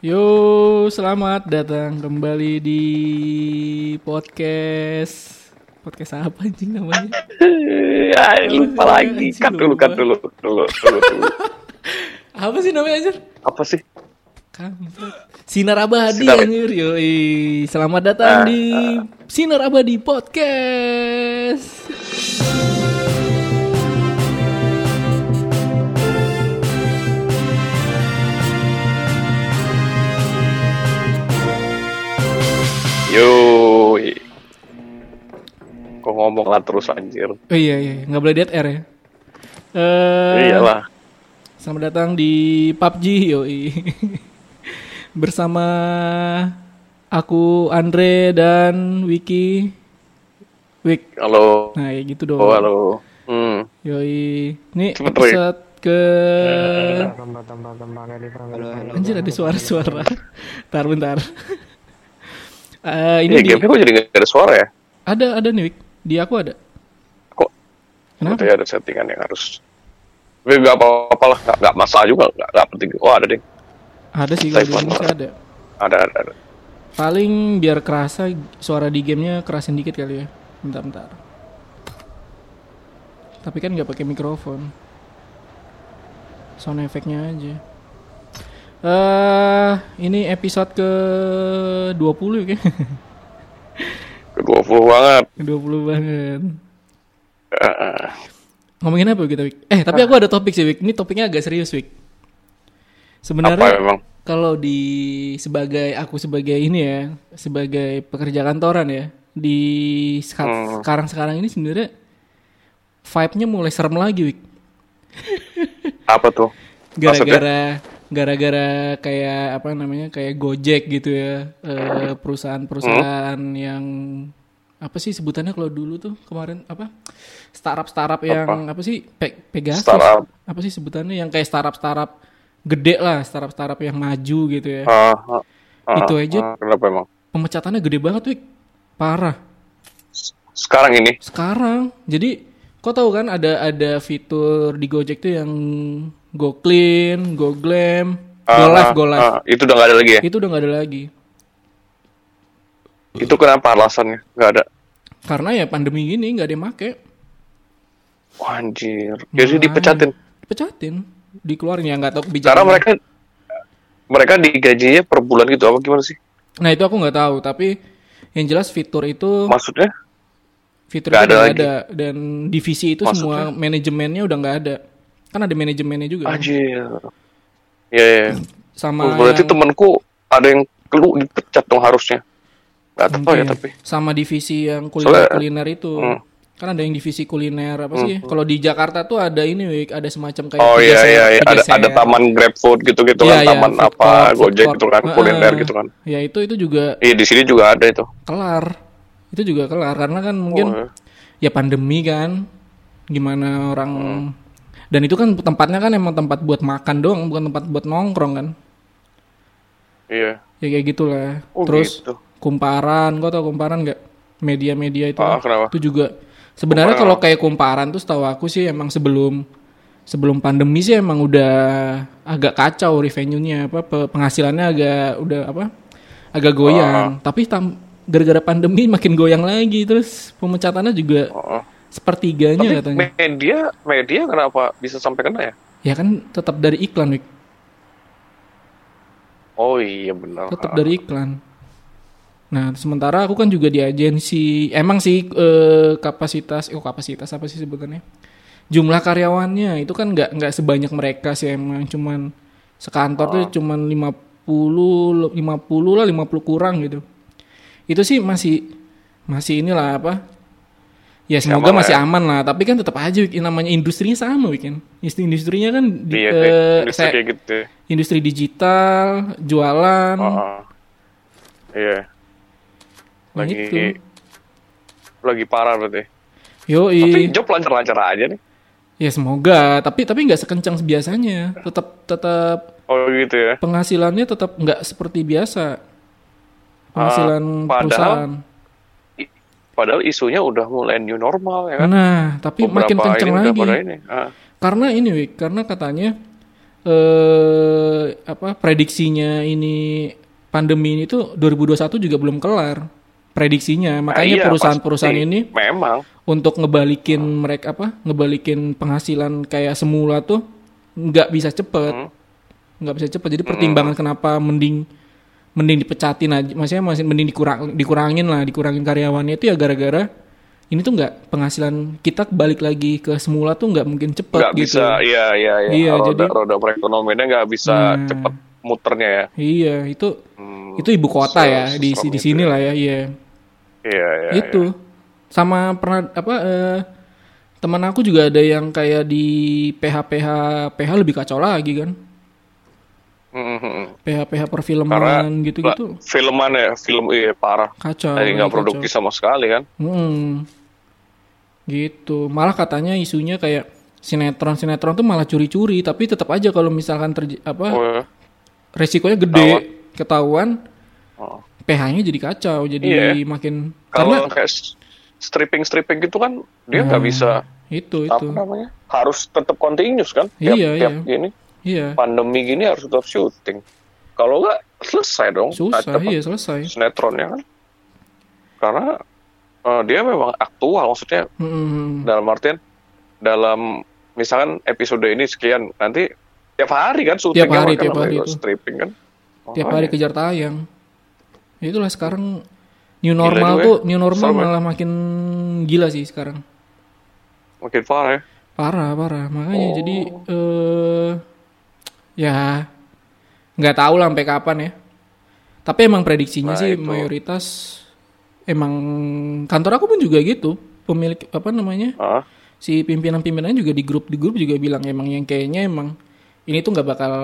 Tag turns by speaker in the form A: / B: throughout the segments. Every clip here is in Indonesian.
A: Yo, selamat datang kembali di podcast podcast apa anjing namanya?
B: Ya, lupa lagi. Cut dulu, cut dulu, dulu, dulu, dulu.
A: Apa sih namanya anjir?
B: Apa sih?
A: Kampret. Sinar Abadi
B: Sinar.
A: anjir. Yoi, selamat datang
B: Ah,
A: di Sinar Abadi Podcast.
B: Yo. Kok ngomong lah terus anjir.
A: Oh iya iya, nggak boleh dead air ya. Eh,
B: Iyalah.
A: Selamat datang di PUBG yoi. Bersama aku Andre dan Wiki. Wik.
B: Halo.
A: Nah, ya gitu dong.
B: Oh, halo. Hmm.
A: Yoi. Ini
B: Cepet, Roy.
A: episode ke Anjir ada suara-suara. Bentar, bentar. Eh, ini
B: Ini
A: di-
B: game Iya, kok jadi nggak ada suara ya?
A: ada ada nih Wik. Di aku ada.
B: Kok?
A: Kenapa?
B: Katanya ada settingan yang harus. Tapi nggak apa-apa lah. Nggak, nggak masalah juga. Nggak, nggak penting. Oh, ada deh.
A: Ada sih kalau di
B: Telepon.
A: Indonesia ada.
B: Ada, ada, ada.
A: Paling biar kerasa suara di gamenya kerasin dikit kali ya. Bentar, bentar. Tapi kan nggak pakai mikrofon. Sound efeknya aja. Eh, ini episode ke 20 kan.
B: Kedua puluh banget.
A: Ke 20 banget.
B: Eh, eh.
A: Ngomongin apa kita, Wik? Eh, tapi aku ada topik sih, Wik. Ini topiknya agak serius, Wik.
B: Apa
A: Sebenarnya
B: emang?
A: kalau di sebagai aku sebagai ini ya sebagai pekerja kantoran ya di sekarang sekarang ini sebenarnya vibe-nya mulai serem lagi Wik
B: Apa tuh?
A: gara-gara gara-gara kayak apa namanya kayak Gojek gitu ya eh, perusahaan-perusahaan yang apa sih sebutannya kalau dulu tuh kemarin apa startup startup yang apa, sih Pe Pegasus
B: Startup.
A: apa sih sebutannya yang kayak startup startup gede lah startup startup yang maju gitu ya
B: Ah, ah, ah,
A: Itu aja.
B: ah. Kenapa emang?
A: pemecatannya gede banget Wik parah
B: Sekarang ini?
A: sekarang jadi kau tahu kan ada ada fitur di Gojek tuh yang go clean go glam go
B: Ah,
A: live
B: ah,
A: go live Iya.
B: ah. Itu udah nggak ada lagi ya?
A: itu udah nggak ada lagi
B: Itu kenapa alasannya? Nggak ada.
A: karena ya pandemi gini nggak ada yang make
B: Wah, anjir. Jadi dipecatin.
A: dipecatin dikeluarin ya nggak tahu kebijakan
B: Cara mereka mereka digajinya per bulan gitu apa gimana sih?
A: nah itu aku nggak tahu tapi yang jelas fitur itu
B: Maksudnya?
A: fitur itu
B: nggak ada
A: nggak
B: lagi.
A: ada dan divisi itu semua manajemennya udah nggak ada kan ada manajemennya juga
B: Anjir. Ya, ya.
A: sama
B: Ah, Berarti
A: yang-
B: temanku ada yang kelu dipecat dong harusnya. Nggak tahu ya
A: Iya.
B: tapi.
A: sama divisi yang kuliner
B: Soalnya- Hmm.
A: kuliner itu kan ada yang divisi kuliner apa sih kalau di Jakarta tuh ada ini Wik, ada semacam kayak
B: Oh
A: tiga
B: iya
A: sehat,
B: iya iya.
A: tiga
B: ada
A: sehat.
B: ada taman GrabFood gitu-gitu
A: ya. Iya,
B: kan,
A: iya,
B: taman
A: food
B: apa
A: court, food
B: Gojek
A: court.
B: gitu kan,
A: Heeh.
B: kuliner gitu kan.
A: ya itu itu juga
B: Iya di sini juga ada itu.
A: kelar itu juga kelar karena kan mungkin
B: Oh,
A: ya pandemi kan gimana orang
B: Hmm.
A: dan itu kan tempatnya kan emang tempat buat makan doang bukan tempat buat nongkrong kan
B: Iya.
A: ya kayak gitulah
B: Oh,
A: terus
B: gitu.
A: kumparan kau tau kumparan nggak media-media itu
B: Ah, kenapa?
A: itu juga sebenarnya kalau kayak kumparan tuh setahu aku sih emang sebelum sebelum pandemi sih emang udah agak kacau revenue-nya apa pe- penghasilannya agak udah apa agak goyang tapi tam- gara-gara pandemi makin goyang lagi terus pemecatannya juga
B: Heeh.
A: sepertiganya katanya
B: Media media kenapa bisa sampai kena ya?
A: ya kan tetap dari iklan Wik.
B: Oh iya benar.
A: tetap dari iklan. Nah, sementara aku kan juga di agensi, emang sih eh, kapasitas, oh kapasitas apa sih sebutannya? Jumlah karyawannya itu kan nggak nggak sebanyak mereka sih emang cuman sekantor
B: Oh.
A: tuh cuman 50 50 lah 50 kurang gitu. Itu sih masih masih inilah apa? Ya semoga
B: aman lah
A: masih aman lah, tapi kan tetap aja Wik, namanya industrinya sama weekend. Industrinya kan di,
B: Iya,
A: eh,
B: industri
A: saya- Hmm.
B: kayak gitu. ya.
A: industri digital, jualan,
B: Heeh. Iya,
A: Nah,
B: lagi
A: itu.
B: lagi parah berarti. Tapi
A: Yoi.
B: job lancar-lancar aja nih.
A: Ya semoga, tapi tapi nggak sekencang biasanya. Tetap tetap
B: Oh gitu ya.
A: penghasilannya tetap nggak seperti biasa. Penghasilan
B: Ah, padahal-
A: perusahaan.
B: I- Padahal isunya udah mulai new normal ya kan.
A: Nah, tapi makin
B: Beberapa
A: kencang
B: ini udah
A: lagi.
B: pada ini. Ah,
A: Karena ini, Wik, karena katanya eh ap- apa prediksinya ini pandemi ini tuh 2021 juga belum kelar prediksinya
B: Nah,
A: makanya
B: iya,
A: perusahaan-perusahaan
B: pasti.
A: ini
B: memang
A: untuk ngebalikin mereka apa ngebalikin penghasilan kayak semula tuh nggak bisa cepet nggak bisa cepet jadi pertimbangan kenapa mending mending dipecatin aja maksudnya masih mending dikurang dikurangin lah dikurangin karyawannya itu ya gara-gara ini tuh nggak penghasilan kita balik lagi ke semula tuh nggak mungkin cepet
B: nggak
A: gitu
B: bisa iya iya iya,
A: Iya,
B: roda
A: jadi-
B: roda perekonomiannya nggak bisa
A: Nah.
B: cepat muternya ya
A: iya itu
B: Hmm,
A: itu ibu kota
B: se-
A: ya di
B: seserem
A: di
B: itu
A: sini lah ya iya
B: iya iya
A: itu sama pernah apa eh, teman aku juga ada yang kayak di PH PH PH lebih kacau lagi kan
B: iya. Mm, mm, mm.
A: PH PH
B: Karena-
A: perfilman gitu gitu
B: Lah, filman ya film iya parah
A: kacau
B: lagi
A: Oh,
B: nggak
A: kacau.
B: produktif sama sekali kan
A: Mm-mm. gitu malah katanya isunya kayak sinetron sinetron tuh malah curi-curi tapi tetap aja kalau misalkan terj- apa
B: Oh,
A: resikonya gede ketahuan
B: oh.
A: PH-nya jadi kacau jadi
B: Iya.
A: makin karena
B: kalau
A: Hmm,
B: kayak stripping stripping gitu kan dia nggak bisa
A: itu
B: apa
A: itu
B: namanya harus tetap continuous kan
A: gitu. Iya,
B: tiap tiap
A: iya.
B: gini
A: iya
B: pandemi gini harus tetap syuting kalau nggak selesai dong
A: susah
B: Ada-
A: iya selesai
B: sinetronnya kan karena eh, dia memang aktual maksudnya
A: Mm-mm.
B: dalam artian dalam misalkan episode ini sekian nanti tiap hari kan syuting
A: Tiap hari,
B: kan,
A: tiap
B: makanya
A: hari
B: kalau
A: itu.
B: stripping kan
A: tiap
B: Makanya.
A: hari kejar tayang Ya itulah sekarang new
B: Gila
A: normal
B: juga
A: tuh
B: ya.
A: new normal
B: Serem ya.
A: malah makin gila sih sekarang
B: makin parah ya
A: parah parah makanya
B: Oh.
A: jadi eh ya nggak tahu lah sampai kapan ya tapi emang prediksinya
B: Nah,
A: sih
B: itu.
A: mayoritas emang kantor aku pun juga gitu pemilik apa namanya
B: Ah,
A: si pimpinan-pimpinannya juga di grup di grup juga bilang emang yang kayaknya emang ini tuh nggak bakal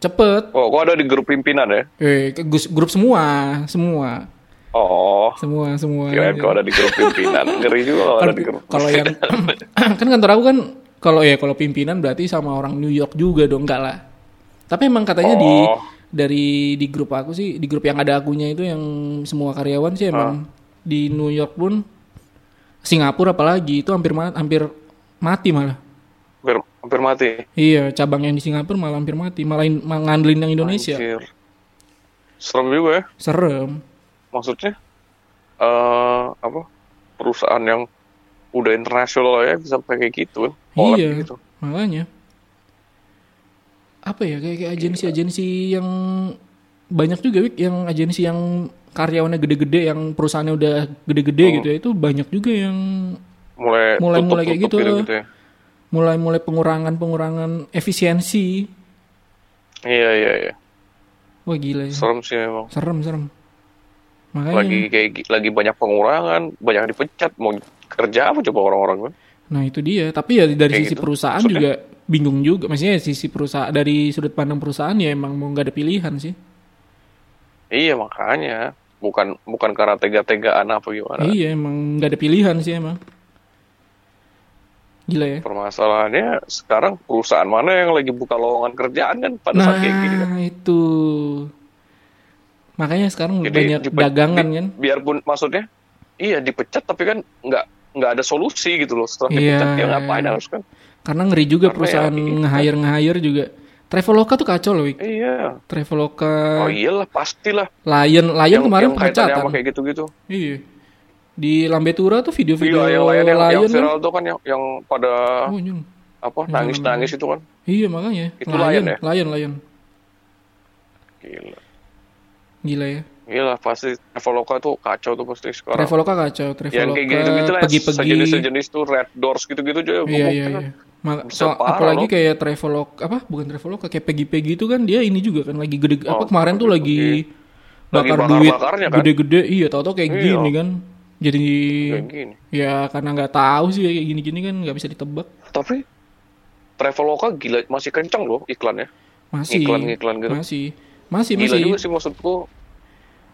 A: cepet
B: oh kok ada di grup pimpinan ya
A: Eh, ke gus- grup semua, semua,
B: oh
A: semua, semua. Iya.
B: kirain kok ada di grup pimpinan ngeri juga kalau ada di grup
A: Kalau yang kan kantor aku kan kalau ya kalau pimpinan berarti sama orang New York juga dong enggak lah. Tapi emang katanya di
B: Oh.
A: dari di grup aku sih di grup yang ada akunya itu yang semua karyawan sih
B: Ah.
A: emang di New York pun Singapura apalagi itu hampir ma- hampir mati malah.
B: hampir, hampir mati
A: Iya, cabang yang di Singapura malah hampir mati, malah in- malah ngandelin yang Indonesia.
B: Anjir. serem juga ya
A: Serem.
B: maksudnya eh apa perusahaan yang udah internasional ya bisa pakai gitu kan Collab
A: iya,
B: gitu.
A: makanya. Apa ya kayak kayak agensi-agensi yang banyak juga Wik, yang agensi yang karyawannya gede-gede yang perusahaannya udah gede-gede
B: Oh.
A: gitu ya itu banyak juga yang
B: mulai
A: Mulai-
B: tutup,
A: mulai kayak
B: tutup
A: gitu.
B: gitu-gitu ya.
A: mulai-mulai pengurangan-pengurangan efisiensi.
B: iya iya iya
A: Wah gila ya.
B: serem sih memang
A: Serem, serem. Makanya.
B: lagi kayak gi- lagi banyak pengurangan banyak yang dipecat mau kerja apa coba orang-orang kan
A: Nah, itu dia. Tapi ya dari
B: Kayak
A: sisi
B: gitu,
A: perusahaan
B: maksudnya?
A: juga bingung juga. Maksudnya sisi perusahaan dari sudut pandang perusahaan ya emang mau nggak ada pilihan sih.
B: iya makanya bukan bukan karena tega-tegaan apa gimana
A: Iya, emang nggak ada pilihan sih emang. Gila ya.
B: permasalahannya sekarang perusahaan mana yang lagi buka lowongan kerjaan kan pada
A: Nah,
B: saat kayak gini kan
A: itu. Makanya sekarang banyak
B: dipe-
A: dagangan
B: di-
A: kan.
B: biarpun maksudnya iya dipecat tapi kan nggak nggak ada solusi gitu loh setelah
A: Iya.
B: dipecat dia ngapain harus kan
A: Karena ngeri juga
B: Karena
A: perusahaan
B: ya, iya.
A: nge-hire nge-hire juga. Traveloka tuh kacau loh, Wik.
B: iya
A: Traveloka,
B: oh iyalah pastilah
A: Lion, Lion Eh. Iya, kemarin kan?
B: kaitannya
A: pemecatan.
B: sama kayak gitu-gitu
A: Iya. Di Lambetura tuh video-video
B: iya yang
A: Lion,
B: lain yang, yang
A: kan.
B: viral tuh kan yang yang pada
A: Oh, nyung.
B: apa nangis-nangis itu kan
A: Iya, makanya.
B: Itu Lion ya?
A: Lion, Lion.
B: gila
A: Gila ya.
B: gila pasti Traveloka tuh kacau tuh pasti sekarang
A: Traveloka kacau,
B: yang
A: Traveloka,
B: kayak gitu-gitu lah
A: pegi-pegi.
B: sejenis-sejenis tuh Red Doors gitu-gitu juga
A: Iya
B: bubuk
A: iya
B: kan.
A: iya. Ma-
B: Bisa
A: so-
B: parah
A: apalagi
B: loh.
A: kayak travelog apa bukan travelog kayak pegi-pegi itu kan dia ini juga kan lagi gede apa
B: Oh,
A: kemarin tuh lagi
B: pegi-pegi. Lagi
A: bakar duit
B: bakar-bakarnya kan.
A: gede-gede iya tau-tau kayak
B: Iya.
A: gini kan jadi
B: kayak gini
A: ya karena nggak tahu sih kayak gini-gini kan nggak bisa ditebak
B: tapi Traveloka gila masih kenceng loh iklannya
A: masih
B: Ngiklan-ngiklan gitu.
A: masih Iya, masih
B: gila
A: masih
B: juga sih maksudku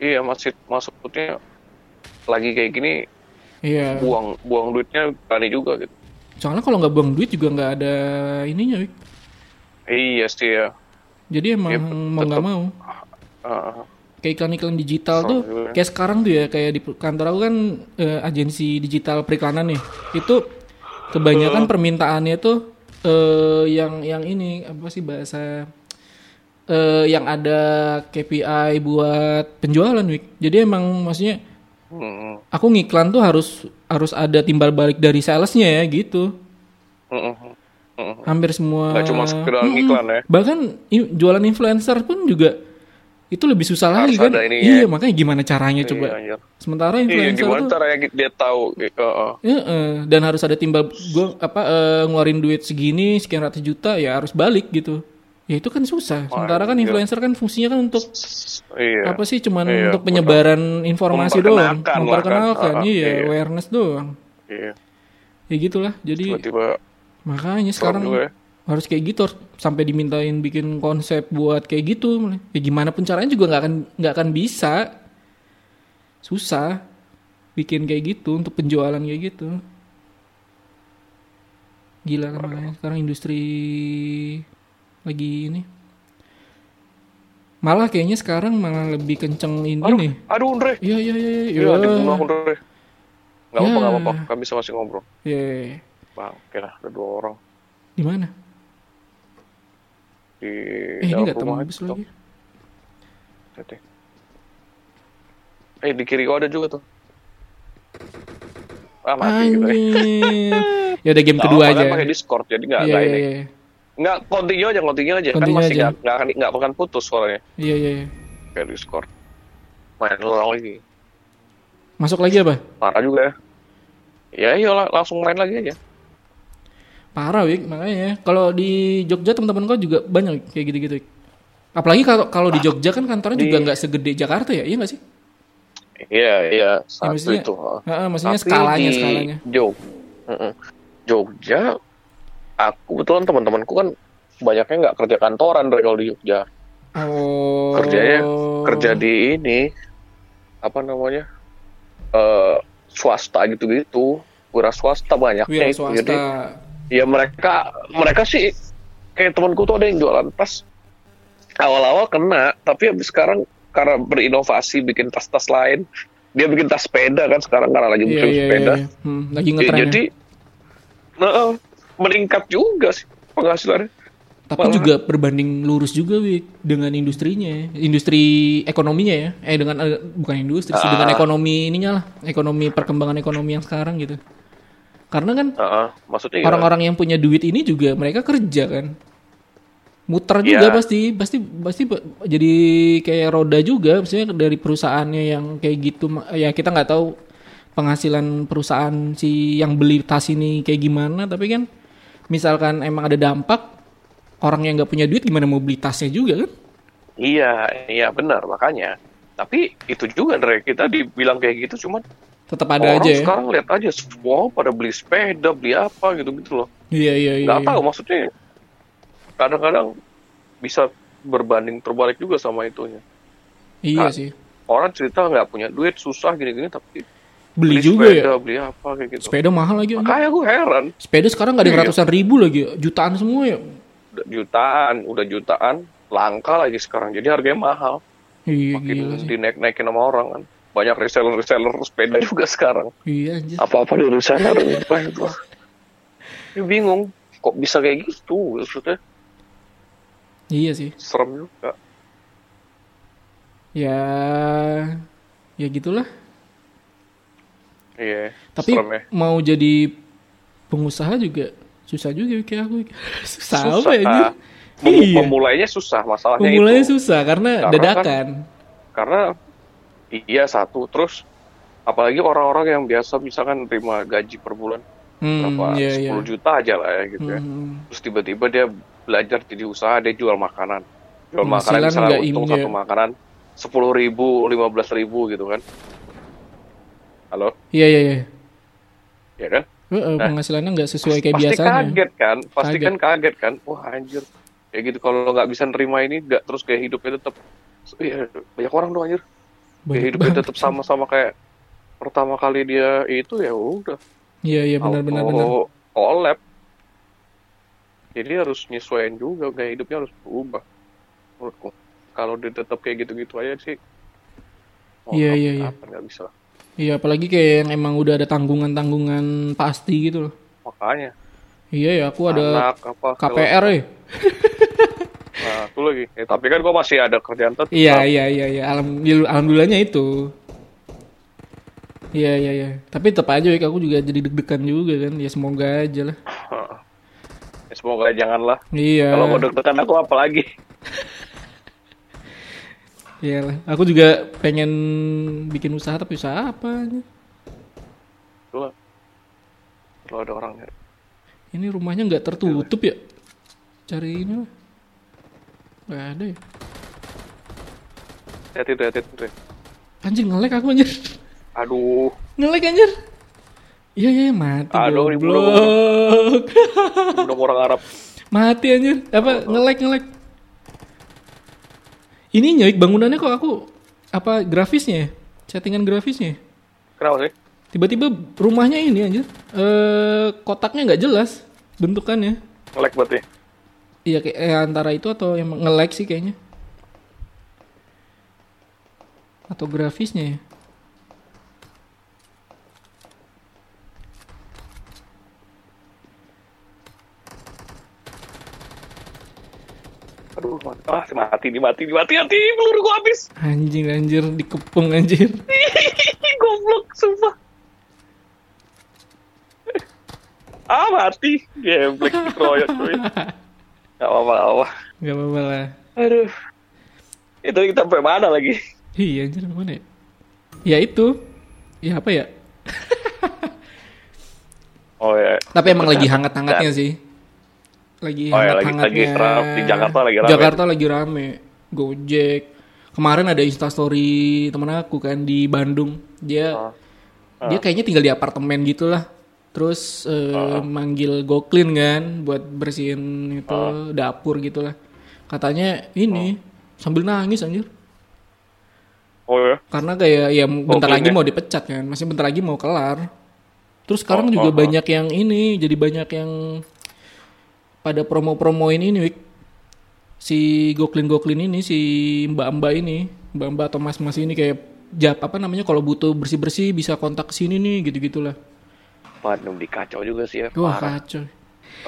B: iya masih maksudnya lagi kayak gini
A: iya
B: buang buang duitnya berani juga gitu
A: soalnya kalau nggak buang duit juga nggak ada ininya Wik.
B: iya sih ya
A: jadi emang
B: Iya,
A: mau nggak mau
B: Ah,
A: kayak iklan-iklan digital tuh
B: Soalnya.
A: kayak sekarang tuh ya kayak di kantor aku kan eh, agensi digital periklanan nih itu kebanyakan permintaannya tuh eh, yang yang ini apa sih bahasa eh, yang ada KPI buat penjualan Wik. Jadi emang maksudnya
B: Hmm,
A: aku ngiklan tuh harus harus ada timbal balik dari salesnya ya gitu.
B: hmm, hmm, hmm.
A: Hampir semua.
B: Nggak cuma sekedar ngiklan ya.
A: Bahkan i- jualan influencer pun juga itu lebih susah
B: Harus
A: lagi kan.
B: ada ininya
A: Iya, makanya gimana caranya coba.
B: Iya, anjir.
A: Sementara
B: Iya,
A: influencer
B: gimana
A: tuh
B: caranya dia tahu? eh, Heeh.
A: Iya, eh, dan harus ada timbal gua apa eh, ngeluarin duit segini sekian ratus juta ya harus balik gitu. Ya itu kan susah. Sementara kan influencer kan fungsinya kan untuk
B: Iya.
A: apa sih cuman
B: Iya,
A: untuk penyebaran informasi doang,
B: Memperkenalkan lah kan.
A: memperkenalkan,
B: Ah,
A: iya,
B: iya.
A: awareness doang.
B: Iya.
A: Ya gitulah. Jadi
B: Tiba-tiba
A: makanya sekarang
B: juga ya.
A: harus kayak gitu harus- sampai dimintain bikin konsep buat kayak gitu. Ya gimana pun caranya juga nggak akan nggak akan bisa. Susah bikin kayak gitu untuk penjualan kayak gitu. Gila kan makanya sekarang industri lagi ini. Malah kayaknya sekarang malah lebih kenceng ini
B: Aduh,
A: nih.
B: aduh Andre.
A: Iya iya iya iya.
B: Iya, dibunuh aku Andre. Nggak apa-apa,
A: Ya.
B: nggak apa-apa. Kami bisa masih ngobrol.
A: Iya.
B: Bang, oke lah, ada dua orang
A: Di mana?
B: di
A: Eh ini
B: dalam
A: nggak
B: rumah.
A: tembus
B: Tuh,
A: lagi.
B: lihat deh. Eh, di kiri kau ada juga tuh. Ah, mati gitu ya.
A: Anjir. ya udah game
B: Nggak
A: kedua
B: apa-apa,
A: aja.
B: kan pakai Discord, jadi nggak
A: Iya
B: nggak
A: iya
B: ini.
A: iya.
B: Nggak, continue aja, continue aja. kan
A: Continue
B: masih
A: aja.
B: nggak nggak akan nggak akan putus suaranya
A: Iya iya. iya.
B: kayak Discord. Main ulang lagi.
A: Masuk lagi apa?
B: Parah juga ya. Ya iyalah, langsung main lagi aja.
A: Parah Wik, makanya. ya. Kalau di Jogja teman-teman kau juga banyak Wik, kayak gitu-gitu. Wik. Apalagi kalau kalau di Jogja kan kantornya juga nggak segede Jakarta ya, iya nggak sih?
B: Iya, iya,
A: Ya,
B: satu
A: maksudnya-
B: itu. ah.
A: Heeh, maksudnya skalanya
B: di
A: skalanya.
B: Jog Mm-mm. Jogja, aku kebetulan teman-temanku kan banyaknya nggak kerja kantoran dari kalau di Jogja.
A: Oh.
B: Kerjanya kerja di ini apa namanya eh swasta gitu-gitu, wira swasta banyaknya.
A: Oh. wira
B: itu.
A: swasta. Iya,
B: Jadi ya mereka mereka sih kayak temanku tuh ada yang jualan tas awal-awal kena, tapi habis sekarang karena berinovasi bikin tas-tas lain. Dia bikin tas sepeda kan sekarang karena lagi
A: Iya
B: musim
A: iya
B: sepeda.
A: iya. Hmm, lagi
B: Ya,
A: ngetren.
B: jadi
A: ya.
B: nah, meningkat juga sih penghasilannya.
A: Tapi
B: malah-
A: juga berbanding lurus juga Wik dengan industrinya, industri ekonominya ya. Eh dengan eh, bukan industri sih dengan ekonomi ininya lah, ekonomi perkembangan ekonomi yang sekarang gitu. Karena kan
B: Heeh, maksudnya ya, gimana?
A: orang-orang yang punya duit ini juga mereka kerja kan muter
B: Iya.
A: juga pasti pasti pasti be- jadi kayak roda juga maksudnya dari perusahaannya yang kayak gitu ma- ya kita nggak tahu penghasilan perusahaan si yang beli tas ini kayak gimana tapi kan misalkan emang ada dampak orang yang nggak punya duit gimana mau beli tasnya juga kan
B: Iya, iya benar makanya. Tapi itu juga Dre, kita dibilang kayak gitu cuma
A: tetap ada aja
B: orang
A: ya
B: sekarang lihat aja semua pada beli sepeda, beli apa gitu-gitu loh.
A: iya iya iya
B: Nggak
A: iya.
B: tahu maksudnya kadang-kadang bisa berbanding terbalik juga sama itunya.
A: iya
B: Ah,
A: sih
B: Orang cerita nggak punya duit, susah gini-gini tapi
A: beli, juga
B: sepeda,
A: ya
B: beli apa kayak gitu.
A: sepeda mahal lagi anjir.
B: Kayak gue heran,
A: sepeda sekarang nggak ada yang
B: Iya.
A: ratusan ribu lagi jutaan semua ya
B: udah jutaan, udah jutaan, langka lagi sekarang. Jadi harganya mahal.
A: iya gila
B: makin
A: sih
B: dinaik-naikin sama orang kan banyak reseller-reseller sepeda juga sekarang
A: iya anjir
B: apa-apa di reseller wah, gua ya bingung kok bisa kayak gitu maksudnya
A: Iya sih.
B: serem juga
A: Ya ya gitulah.
B: iya
A: Tapi
B: serem ya
A: mau jadi pengusaha juga susah juga ya, kayak aku. susah, apa ya? anjir?
B: Mem-
A: Iya.
B: memulainya susah masalahnya
A: Memulainya
B: itu kan
A: susah karena
B: Karena
A: dadakan.
B: karena iya satu terus apalagi orang-orang yang biasa misalkan terima gaji per bulan
A: Hmm,
B: berapa
A: iya,
B: 10
A: iya.
B: juta aja lah ya gitu ya
A: Hmm,
B: terus tiba-tiba dia belajar jadi usaha dia jual makanan jual makanan
A: Penghasilan
B: misalnya
A: Hmm, nggak
B: untung
A: ini
B: satu
A: ya.
B: makanan sepuluh ribu lima belas ribu gitu kan halo
A: Iya, iya, iya.
B: ya kan
A: Eh, eh, penghasilannya nggak sesuai kayak
B: pasti
A: biasanya.
B: kaget kan pasti
A: Kaget.
B: kan kaget kan wah anjir ya gitu kalau nggak bisa nerima ini nggak terus kayak hidupnya tetap iya banyak orang dong anjir Kayak
A: Banyak
B: hidupnya
A: banget.
B: tetap sama-sama kayak pertama kali dia itu ya udah
A: Iya, iya benar benar benar.
B: auto collab. E Jadi harus nyesuaiin juga gaya hidupnya harus berubah. Menurutku. Kalau dia tetap kayak gitu-gitu aja sih.
A: Iya, iya, iya.
B: apa nggak bisa.
A: Iya, apalagi kayak yang emang udah ada tanggungan-tanggungan pasti gitu loh.
B: Makanya
A: Iya ya, aku ada
B: anak apa segala-
A: KPR ya.
B: Nah, aku lagi. Ya, tapi kan gua masih ada kerjaan tetap.
A: Iya iya iya iya. Alhamdulillah, alhamdulillahnya itu. Iya iya iya. Tapi tetap aja Wik, aku juga jadi deg-degan juga kan. Ya semoga aja lah.
B: Heeh. Ya, semoga janganlah.
A: Iya.
B: Kalau mau deg-degan aku apa lagi?
A: Iya lah. Aku juga pengen bikin usaha tapi usaha apa?
B: Gua. Kalau ada orang ya. nyari.
A: Ini rumahnya nggak tertutup ya? Cari ini lah. Gak ada ya.
B: Hati-hati, tuh, hati-hati. tuh.
A: Anjir ngelek aku anjir.
B: Aduh.
A: Ngelek anjir. Iya iya mati
B: Aduh, ribu dong.
A: goblok.
B: Belum orang Arab.
A: mati anjir. Apa ngelek ngelek. Ini nyoik bangunannya kok aku apa grafisnya? ya? Settingan grafisnya. ya?
B: Kenapa sih?
A: Tiba-tiba rumahnya ini anjir. Eh kotaknya nggak jelas bentukannya.
B: Nge-lag ya. berarti.
A: Iya kayak eh, antara itu atau emang nge-lag sih kayaknya. Atau grafisnya ya.
B: Aduh, mati. Ah, mati nih, mati nih, mati, mati. Peluru gua habis.
A: Anjing anjir dikepung anjir.
B: Goblok, sumpah. Ah, mati. Geblek dikeroyok, cuy. Gak apa-apa, gak apa-apa.
A: Gak apa-apa lah.
B: Aduh. Itu kita sampai mana lagi?
A: Iya anjir mana ya? Ya itu. Ya apa ya?
B: Oh ya.
A: Tapi emang lagi hangat-hangatnya sih. Lagi
B: Oh ya, lagi-
A: hangat-hangatnya.
B: lagi rame. Di Jakarta lagi rame.
A: Jakarta lagi rame. Gojek. Kemarin ada instastory temen aku kan di Bandung.
B: Ah.
A: Dia dia kayaknya tinggal di apartemen gitulah. Terus eh,
B: Ah.
A: manggil Goklin kan buat bersihin itu
B: Ah.
A: dapur gitulah. Katanya ini sambil nangis anjir.
B: Oh ya.
A: karena kayak ya bentar
B: Oke,
A: lagi
B: oke.
A: mau dipecat kan masih bentar lagi mau kelar terus
B: Oh,
A: sekarang juga banyak yang ini jadi banyak yang pada promo-promoin ini Wik. si goklin goklin ini si mbak mbak ini mbak mbak atau mas mas ini kayak jap apa namanya kalau butuh bersih bersih bisa kontak ke sini nih gitu gitulah
B: Bandung dikacau juga sih ya.
A: wah kacau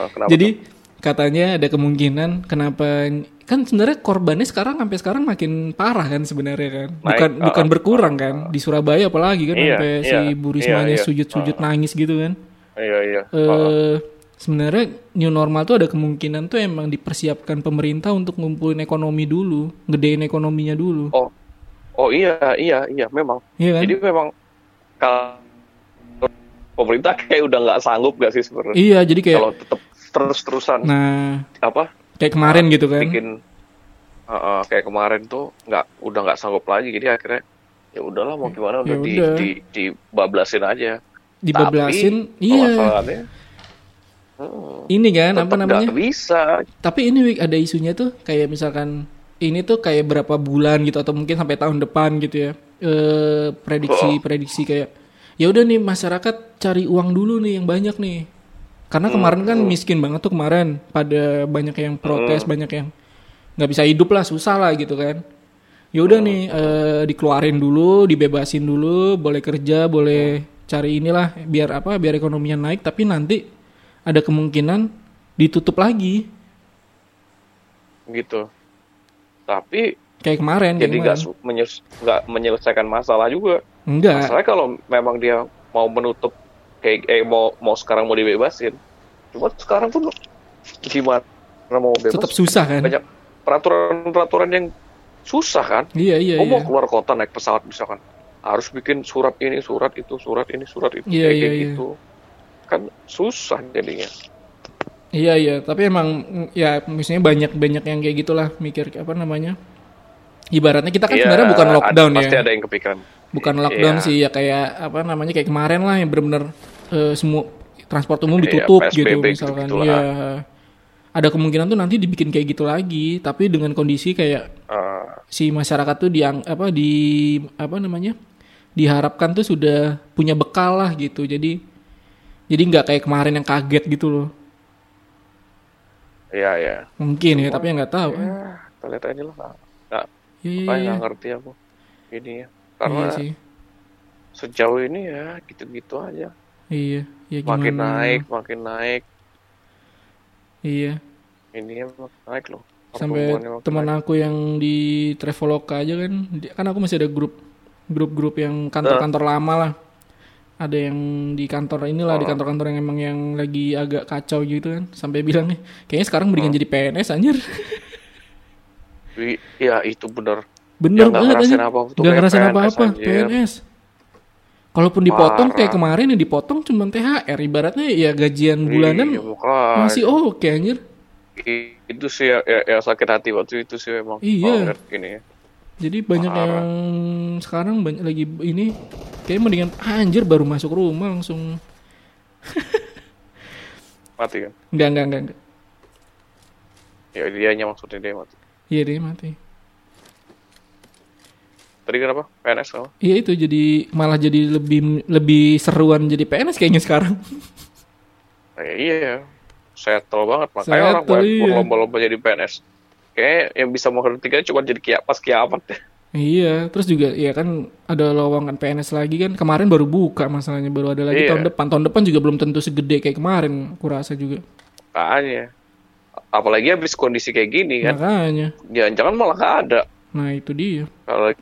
B: Ah, kenapa?
A: jadi katanya ada kemungkinan kenapa kan sebenarnya korbannya sekarang sampai sekarang makin parah kan sebenarnya kan. Bukan
B: Naik, ah,
A: bukan berkurang kan. Di Surabaya apalagi kan
B: Iya,
A: sampai
B: iya,
A: si Bu Rismanya
B: iya, iya.
A: sujud-sujud nangis gitu kan.
B: Iya, iya.
A: Eh sebenarnya new normal tuh ada kemungkinan tuh emang dipersiapkan pemerintah untuk ngumpulin ekonomi dulu, gedein ekonominya dulu.
B: Oh, oh iya, iya, iya, memang.
A: Iya kan?
B: Jadi memang kalau pemerintah kayak udah nggak sanggup gak sih sebenarnya
A: iya, jadi kayak
B: kalau tetap terus-terusan
A: nah
B: apa
A: kayak kemarin gitu kan.
B: Ah, bikin Heeh, kayak kemarin tuh nggak udah nggak sanggup lagi jadi akhirnya ya udahlah mau gimana udah,
A: Ya
B: di,
A: udah.
B: di dibablasin aja
A: Dibablasin,
B: Tapi,
A: iya.
B: permasalahannya, hmm,
A: Ini kan apa
B: tetap
A: namanya?
B: nggak bisa
A: Tapi ini Wik, ada isunya tuh kayak misalkan ini tuh kayak berapa bulan gitu atau mungkin sampai tahun depan gitu ya. Eh prediksi-prediksi kayak ya udah nih masyarakat cari uang dulu nih yang banyak nih. Karena kemarin kan miskin banget tuh kemarin pada banyak yang protes, banyak yang nggak bisa hidup lah, susah lah gitu kan. Ya udah nih eh, dikeluarin dulu, dibebasin dulu, boleh kerja, boleh cari inilah biar apa? Biar ekonominya naik tapi nanti ada kemungkinan ditutup lagi.
B: gitu tapi
A: Kayak kemarin, kayak
B: jadi nggak
A: kemarin.
B: su- menyes- nggak menyelesaikan masalah juga
A: Enggak.
B: Masalahnya kalau memang dia mau menutup kayak eh mau mau sekarang mau dibebasin. Cuma sekarang pun gimana mau bebas?
A: Tetap susah kan?
B: banyak peraturan-peraturan yang susah kan?
A: Iya, iya,
B: Lo mau
A: iya.
B: keluar kota naik pesawat misalkan harus bikin surat ini, surat itu, surat ini, surat itu
A: Iya,
B: kayak
A: iya, iya.
B: gitu. Kan susah jadinya.
A: Iya, iya, tapi emang mm, ya misalnya banyak-banyak yang kayak gitulah mikir apa namanya? Ibaratnya kita kan
B: Iya,
A: sebenarnya bukan
B: ad-
A: lockdown ya.
B: Pasti ada yang kepikiran.
A: Bukan lockdown
B: Iya.
A: sih ya kayak apa namanya? kayak kemarin lah yang benar-benar eh, semua transport umum
B: Iya,
A: ditutup
B: PSBB
A: gitu misalkan.
B: gitu-gitulah.
A: Iya. Ada kemungkinan tuh nanti dibikin kayak gitu lagi, tapi dengan kondisi kayak
B: Eh,
A: si masyarakat tuh diang apa di apa namanya diharapkan tuh sudah punya bekal lah gitu jadi jadi nggak kayak kemarin yang kaget gitu loh
B: iya, iya.
A: mungkin ya tapi ya nggak tahu
B: Ya, kita lihat aja lah. Nggak- nggak-
A: Iya, iya,
B: makanya
A: iya.
B: nggak ngerti aku ini ya. Karena
A: iya sih
B: sejauh ini ya gitu-gitu aja
A: iya ya gimana
B: makin naik makin naik
A: iya
B: ini makin naik loh
A: sampai
B: pertumbuhannya makin
A: teman aku yang di Traveloka aja kan di- kan aku masih ada grup grup-grup yang kantor-kantor lama lah ada yang di kantor inilah
B: Oh.
A: di kantor-kantor yang emang yang lagi agak kacau gitu kan sampai bilang "Eh, kayaknya sekarang mendingan
B: Oh.
A: jadi PNS anjir
B: Wi- ya itu bener
A: bener
B: Ya, nggak
A: banget
B: ngerasain
A: anjir.
B: apa-apa tuh
A: Nggak
B: kayak
A: ngerasain
B: PNS,
A: apa-apa
B: anjir.
A: PNS kalaupun dipotong kayak
B: Parah.
A: kemarin yang dipotong cuman THR ibaratnya ya gajian
B: Iya,
A: bulanan
B: makanya.
A: masih oke anjir
B: I- itu sih ya, ya- ya sakit hati waktu itu sih emang
A: Iya.
B: banget gini ya.
A: Jadi banyak
B: Parah.
A: yang sekarang banyak lagi ini kayak mendingan "Ah, anjir baru masuk rumah langsung
B: mati kan
A: enggak enggak enggak. enggak.
B: ya dianya maksudnya dia mati
A: Iya deh mati.
B: tadi kenapa PNS apa
A: Iya itu jadi malah jadi lebih lebih seruan jadi PNS kayaknya sekarang.
B: ya, iya ya. settle banget makanya orang
A: Settle,
B: banyak
A: iya.
B: berlomba-lomba jadi PNS Kayaknya yang bisa menghentikan cuma jadi kia, pas kiamat deh.
A: iya, terus juga ya kan ada lowongan PNS lagi kan kemarin baru buka masalahnya baru ada lagi
B: Iya.
A: tahun depan. Tahun depan juga belum tentu segede kayak kemarin aku rasa juga.
B: Makanya. Apalagi habis kondisi kayak gini kan.
A: Makanya.
B: Jangan-jangan malah gak ada.
A: Nah, itu dia.
B: Kalau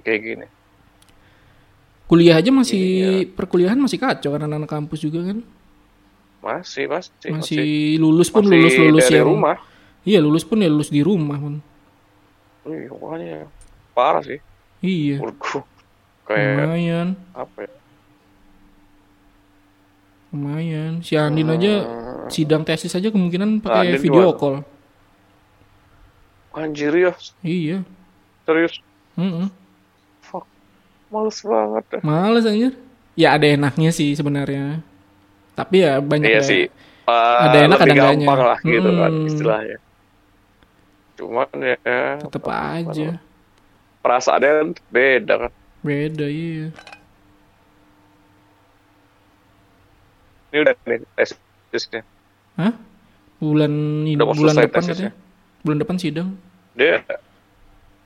B: kayak gini.
A: Kuliah aja
B: Iya.
A: masih perkuliahan masih kacau karena anak kampus juga kan.
B: Masih, masih.
A: Masih lulus pun
B: Iya, masih
A: lulus-lulus
B: dari
A: yang
B: rumah.
A: Iya lulus pun ya lulus di rumah pun.
B: Iya, makanya. Parah sih.
A: Iya.
B: Menurutku. Kayak
A: Lumayan,
B: apa ya.
A: lumayan. Si Andin aja sidang tesis aja kemungkinan pakai
B: Ah. Andin
A: video
B: gimana?
A: call.
B: Anjir ya.
A: Iya.
B: Serius.
A: Mm-mm.
B: Fuck. Males banget dah.
A: Males anjir. Ya ada enaknya sih sebenarnya. Tapi ya banyak
B: Iya
A: ya.
B: sih. Eh,
A: Ada enak,
B: lebih
A: ada enggaknya. Hmm.
B: gampang lah gitu kan
A: Mm-mm.
B: istilahnya. Cuman ya, ya
A: Tetep aja.
B: perasaannya beda kan.
A: Beda iya.
B: Ini udah nih tesisnya.
A: Hah? Bulan ini
B: Udah mau
A: bulan
B: selesai
A: depan
B: tesisnya.
A: katanya. Bulan depan sidang.
B: Dia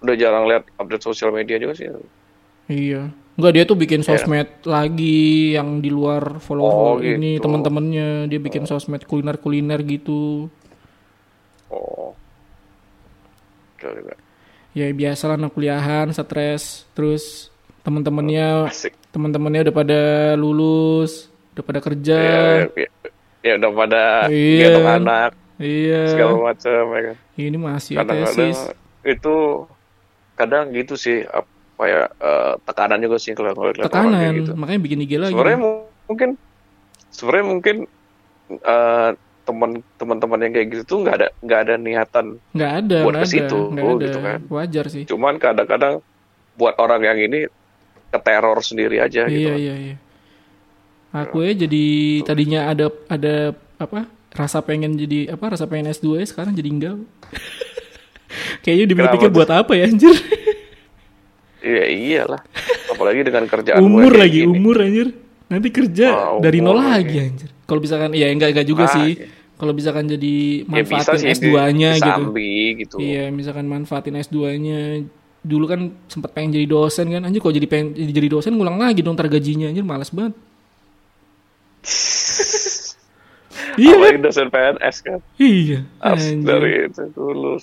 B: udah jarang lihat update sosial media juga sih.
A: Iya. Enggak dia tuh bikin sosmed lagi yang di luar follow
B: Oh,
A: ini
B: gitu.
A: teman-temannya dia bikin sosmed kuliner-kuliner gitu.
B: Oh. Gila, gila.
A: ya biasa lah anak kuliahan stres terus teman-temannya
B: Asik.
A: teman-temannya udah pada lulus udah pada kerja
B: Ya, ya, ya, ya udah pada
A: Iya.
B: gendong anak
A: iya
B: segala macam ya kan.
A: ini masih
B: Kadang-kadang
A: tesis
B: itu kadang gitu sih apa ya eh, tekanan juga sih kalau ngeliat orang kayak
A: tekanan Iya,
B: gitu.
A: makanya bikin IG lagi
B: Sebenarnya mu- mungkin sebenarnya mungkin eh, teman teman-teman yang kayak gitu tuh nggak ada nggak ada niatan
A: nggak ada
B: buat
A: nggak
B: ke
A: ada
B: situ,
A: nggak ada
B: gitu kan.
A: wajar sih
B: cuman kadang-kadang buat orang yang ini keteror sendiri aja gitu
A: iya
B: Iya.
A: iya iya aku ya jadi tadinya ada ada apa rasa pengen jadi apa rasa pengen S2 ya sekarang jadi enggak kayaknya dipikir-pikir
B: Kenapa tuh?
A: buat apa ya anjir
B: iya iyalah apalagi dengan kerjaan gue
A: umur
B: Ya, kayak
A: lagi
B: gini.
A: umur anjir nanti kerja
B: Ah, umur
A: dari nol
B: lagi.
A: lagi anjir kalau misalkan ya enggak enggak juga
B: Ah,
A: sih
B: iya.
A: kalau misalkan jadi
B: ya bisa
A: manfaatin
B: sih
A: S2-nya gitu
B: disambi gitu
A: iya misalkan manfaatin S2-nya dulu kan sempet pengen jadi dosen kan anjir kalau jadi pengen jadi jadi dosen ngulang lagi dong ntar gajinya anjir malas banget iya kan?
B: apalagi dosen PNS kan
A: iya
B: harus
A: anjir
B: dari itu dulu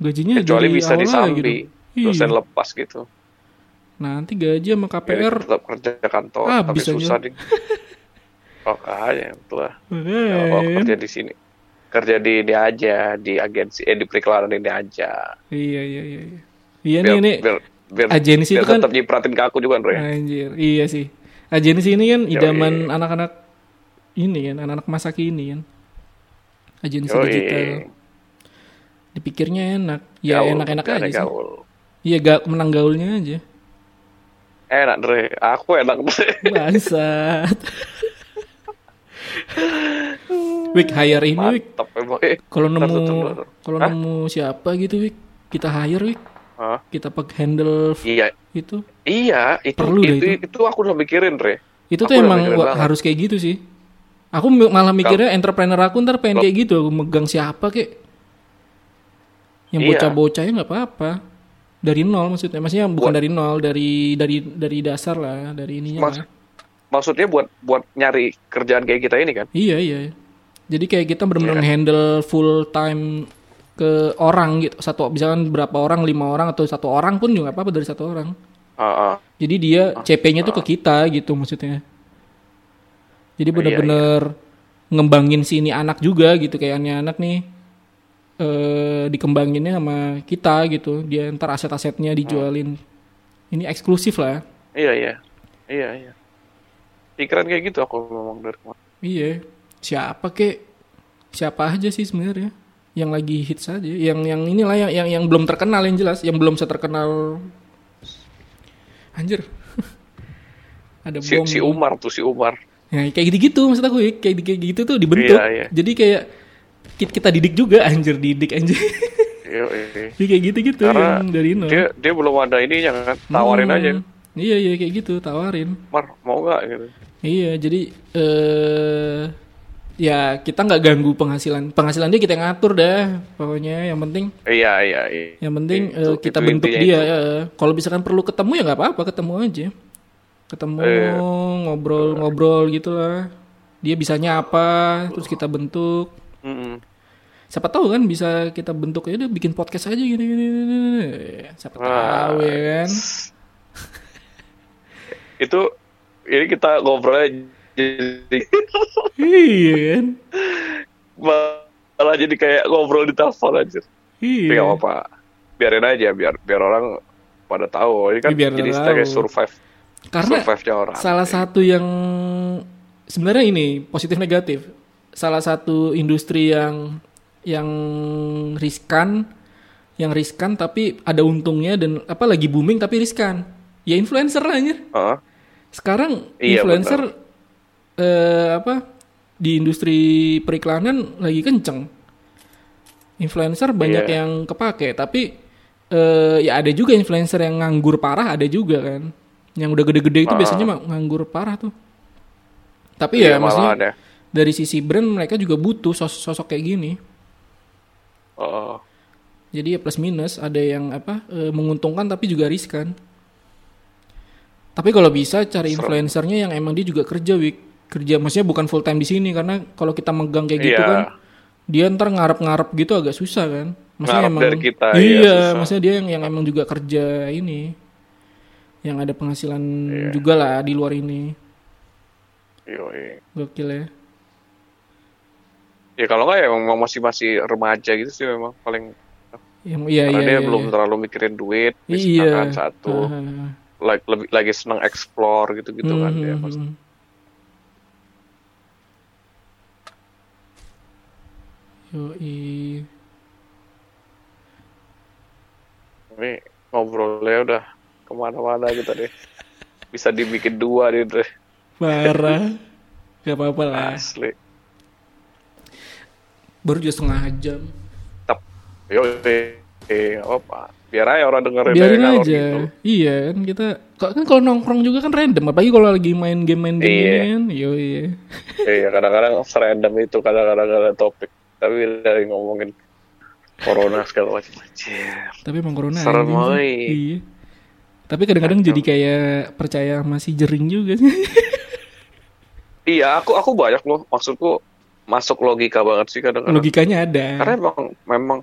A: gajinya
B: kecuali
A: dari
B: bisa
A: awal lagi
B: disambi
A: dong. Iya.
B: dosen Ya, lepas gitu
A: nanti gaji sama
B: Jadi
A: KPR
B: tetap kerja kantor
A: Habis
B: tapi
A: aja.
B: susah ding oh kayaknya telah
A: makanya.
B: kalau kerja
A: iya.
B: di sini kerja di ini aja di agensi eh di periklanan ini aja
A: iya iya iya iya iya nih
B: biar
A: nih
B: biar biar,
A: agensi
B: biar
A: itu kan-
B: tetap nyipratin ke aku juga Andre
A: Anjir, iya sih. Agensi ini kan idaman anak-anak ini kan, anak-anak masa kini kan. Agensi
B: Yoi.
A: digital. Dipikirnya enak. Ya
B: Gaul,
A: enak-enak
B: gak ada
A: aja sih.
B: gaul.
A: Iya, ga, menang gaulnya aja.
B: enak Dre aku enak Dre
A: Bangsat. Wik hire ini Wik.
B: mantap emang eh.
A: Kalau nemu
B: Ntar, ntar, ntar.
A: kalau nemu siapa gitu Wik, kita hire Wik.
B: Hah?
A: Kita pakai handle f- gitu.
B: iya
A: itu.
B: iya itu
A: Perlu deh
B: itu, itu aku udah mikirin Dre
A: Itu tuh
B: Aku udah
A: emang
B: mikirin
A: wa-
B: banget.
A: harus kayak gitu sih. Aku mi- malah mikirnya entrepreneur aku ntar pengen kayak gitu, aku megang siapa kek.
B: Iya.
A: Yang bocah-bocahnya nggak apa-apa. Dari nol maksudnya, maksudnya bukan dari nol, dari dari dari dasar lah, dari ininya
B: Mas-
A: lah.
B: maksudnya buat buat nyari kerjaan kayak kita ini kan Iya
A: Iya iya. Jadi kayak kita benar-benar handle full time ke orang gitu satu misalkan berapa orang lima orang atau satu orang pun juga nggak apa-apa dari satu orang
B: Ah, ah.
A: jadi dia CP-nya tuh ke kita gitu maksudnya jadi
B: Iya,
A: bener-bener ngembangin si ini anak juga gitu kayak ini anak nih eh dikembanginnya sama kita gitu dia ntar aset-asetnya
B: Ah.
A: dijualin ini eksklusif lah
B: Iya iya iya iya. Pikiran kayak gitu aku ngomong dari kemarin.
A: iya siapa kek siapa aja sih sebenarnya yang lagi hits aja yang yang inilah yang yang yang belum terkenal yang jelas yang belum seterkenal anjir ada
B: Si,
A: bom
B: si Umar tuh si Umar.
A: Nah, kayak gitu-gitu maksud aku ya. Kayak, kayak gitu tuh dibentuk.
B: Iya, iya.
A: Jadi kayak kita, kita didik juga anjir didik anjir.
B: Iya iya.
A: Jadi kayak gitu-gitu
B: Karena
A: yang dari nol.
B: Dia dia belum ada ininya kan. Tawarin
A: Hmm.
B: aja.
A: Iya iya kayak gitu tawarin.
B: Mar mau nggak gitu.
A: Iya, jadi eh ya kita nggak ganggu penghasilan. Penghasilan dia kita yang ngatur dah. Pokoknya yang penting
B: Iya iya iya.
A: yang penting
B: Itu-
A: eh, kita
B: itu
A: bentuk
B: intinya
A: dia. ya. Kalau misalkan perlu ketemu ya nggak apa-apa, ketemu aja. Ketemu
B: Iya.
A: ngobrol-ngobrol gitu lah. Dia bisanya apa, terus kita bentuk.
B: Mm-mm.
A: siapa tahu kan bisa kita bentuk ya udah bikin podcast aja gini gini, gini, gini. gitu. siapa tahu ya kan
B: Itu ini kita ngobrolnya jadi
A: iya kan
B: malah jadi kayak ngobrol di telepon aja.
A: iya
B: Tapi nggak apa-apa. Biarin aja biar biar orang pada tahu. Ini kan
A: Iya, biar
B: jadi
A: tahu.
B: sebagai survive
A: karena
B: survive-nya orang.
A: salah satu yang sebenarnya ini positif negatif salah satu industri yang yang riskan yang riskan tapi ada untungnya dan apa lagi booming tapi riskan ya influencer lah anjir
B: Heeh.
A: sekarang
B: Iya,
A: influencer eh, apa di industri periklanan lagi kenceng influencer banyak
B: Iya.
A: yang kepake tapi eh, ya ada juga influencer yang nganggur parah ada juga kan yang udah gede-gede itu biasanya mah nganggur parah tuh tapi ya
B: Ah. Iya, malah
A: maksudnya
B: ada.
A: dari sisi brand mereka juga butuh sos- sosok kayak gini
B: Heeh.
A: jadi ya plus minus ada yang apa eh, menguntungkan tapi juga riskan. Tapi kalau bisa cari influencernya yang emang dia juga kerja Wik. Kerja maksudnya bukan full time di sini karena kalau kita megang kayak gitu
B: Iya.
A: kan dia ntar ngarep-ngarep gitu agak susah kan. Maksudnya
B: Ngarep dari kita,
A: Iya,
B: iya, susah.
A: maksudnya dia yang yang emang juga kerja ini. Yang ada penghasilan
B: Iya.
A: juga lah di luar ini.
B: Yoi.
A: Gokil ya.
B: Ya kalau nggak ya memang masih masih remaja gitu sih memang paling
A: Yang iya
B: karena
A: iya.
B: dia
A: iya,
B: belum
A: iya.
B: terlalu mikirin duit,
A: Iya.
B: misalkan satu,
A: Ah,
B: lagi lebih lagi seneng explore gitu-gitu kan
A: hmm,
B: dia.
A: hmm,
B: Mas.
A: hmm. Yoi. hmm.
B: Tapi ngobrolnya udah kemana-mana gitu deh. Bisa dibikin dua gitu deh,
A: Parah. Gak apa-apa lah.
B: asli.
A: Baru juga setengah jam.
B: Tep. Yoi. Eh, apa? Biar aja orang dengerin
A: Biarin aja.
B: ngalor gitu.
A: Iya kan kita. Kok kan kalau nongkrong juga kan random. Apalagi kalau lagi main game main game
B: Iya.
A: kan. Yo iya.
B: Iya, kadang-kadang serandom itu kadang-kadang ada topik. Tapi dari ngomongin corona segala macam. Anjir.
A: Tapi emang corona
B: Serem,
A: anjing sih.
B: oi.
A: Iya. Tapi kadang-kadang jadi kayak percaya masih jering juga sih.
B: Iya, aku aku banyak loh. Maksudku masuk logika banget sih kadang-kadang.
A: Logikanya ada.
B: Karena emang memang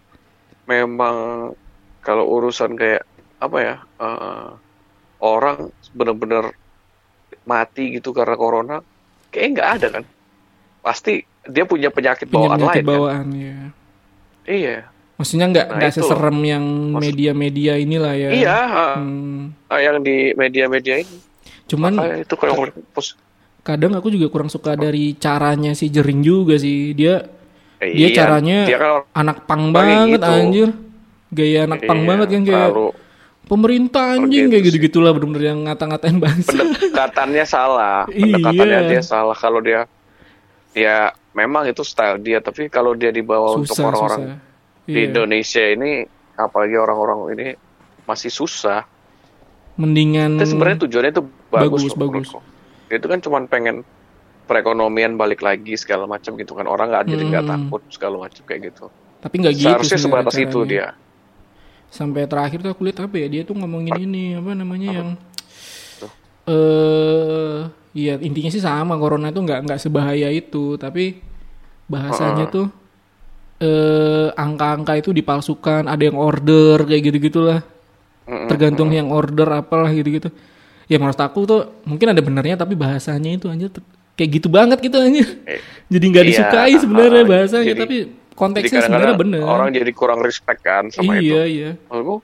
B: memang kalau urusan kayak apa ya eh, orang bener-bener mati gitu karena corona, kayaknya nggak ada kan? Pasti dia punya penyakit
A: Punya
B: bawaan
A: penyakit
B: lain. kan?
A: bawaan ya.
B: Iya,
A: Maksudnya nggak
B: Nah,
A: nggak
B: itu loh.
A: seserem yang media-media inilah ya.
B: iya. eh,
A: Hmm.
B: yang di media-media ini
A: Cuman
B: Ah, itu kayak ngomongin pos.
A: kadang aku juga kurang suka dari caranya si Jering juga sih. Dia
B: Eh,
A: dia
B: iya,
A: caranya
B: dia kan orang
A: anak pang
B: orangnya
A: banget
B: gitu.
A: anjir. Gaya anak pang
B: Iya,
A: banget kan kayak
B: terlalu
A: pemerintah anjing
B: gitu
A: kayak
B: sih.
A: gitu-gitulah bener-bener yang ngata-ngatain bangsa.
B: pendekatannya salah
A: Iya.
B: pendekatannya dia salah kalau dia ya memang itu style dia tapi kalau dia dibawa untuk
A: susah
B: orang-orang
A: susah.
B: di
A: Iya.
B: Indonesia ini apalagi orang-orang ini masih susah
A: Mendingan
B: itu sebenarnya tujuannya itu bagus
A: Hmm. Bagus,
B: loh
A: bagus.
B: menurutku. Dia itu kan cuman pengen perekonomian balik lagi segala macam gitu kan orang nggak jadi nggak
A: Hmm.
B: takut segala macam kayak gitu,
A: tapi nggak gitu
B: seharusnya
A: sebenarnya
B: sebatas itu
A: caranya.
B: dia
A: sampai terakhir tuh aku lihat apa ya dia tuh ngomongin ini apa namanya yang
B: Tuh.
A: eh iya intinya sih sama corona itu nggak nggak sebahaya itu tapi bahasanya tuh eh, angka-angka itu dipalsukan, ada yang order kayak gitu-gitulah. Tergantung yang order apalah gitu-gitu. Ya menurut aku tuh mungkin ada benernya tapi bahasanya itu anjir ter- kayak gitu banget gitu anjir. Jadi nggak
B: iya,
A: disukai sebenarnya
B: ah,
A: bahasanya
B: jadi-
A: tapi
B: Jadi
A: konteksnya sebenarnya
B: kadang-kadang
A: bener.
B: orang jadi kurang respect kan sama itu.
A: iya, iya.
B: Maksudku,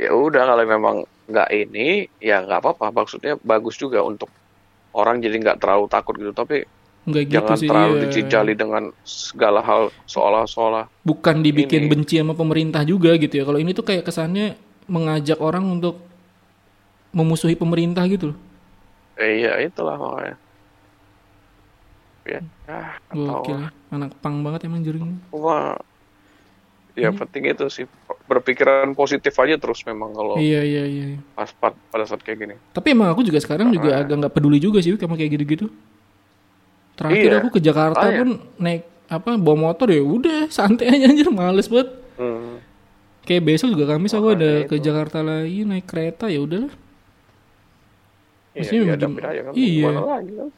B: ya udah kalau memang nggak ini, ya nggak apa-apa. Maksudnya bagus juga untuk orang jadi nggak terlalu takut gitu. Tapi
A: Enggak gitu
B: jangan
A: sih.
B: terlalu
A: iya.
B: dicijali dengan segala hal seolah-olah.
A: Bukan dibikin
B: Ini.
A: benci sama pemerintah juga gitu ya. Kalau ini tuh kayak kesannya mengajak orang untuk memusuhi pemerintah gitu loh.
B: Eh, iya itulah makanya. Ya, ah, atau
A: Gokil. Anak pang banget emang jaringnya.
B: cuma ya
A: Hmm.
B: penting itu sih berpikiran positif aja terus memang kalau
A: Iya, iya, iya. iya.
B: pas pa- pada saat kayak gini.
A: Tapi emang aku juga sekarang juga agak nggak peduli juga sih sama kayak gitu-gitu. Terakhir
B: Iya.
A: aku ke Jakarta
B: Makanya.
A: pun naik apa bawa motor ya udah santai aja anjir males banget.
B: Hmm.
A: Kayak besok juga Kamis
B: Oh,
A: aku ada ke Jakarta lagi naik kereta ya udahlah. Maksudnya
B: Iya,
A: memang
B: dihadapin
A: gim-
B: aja kan.
A: iya.
B: Gimana lagi kan?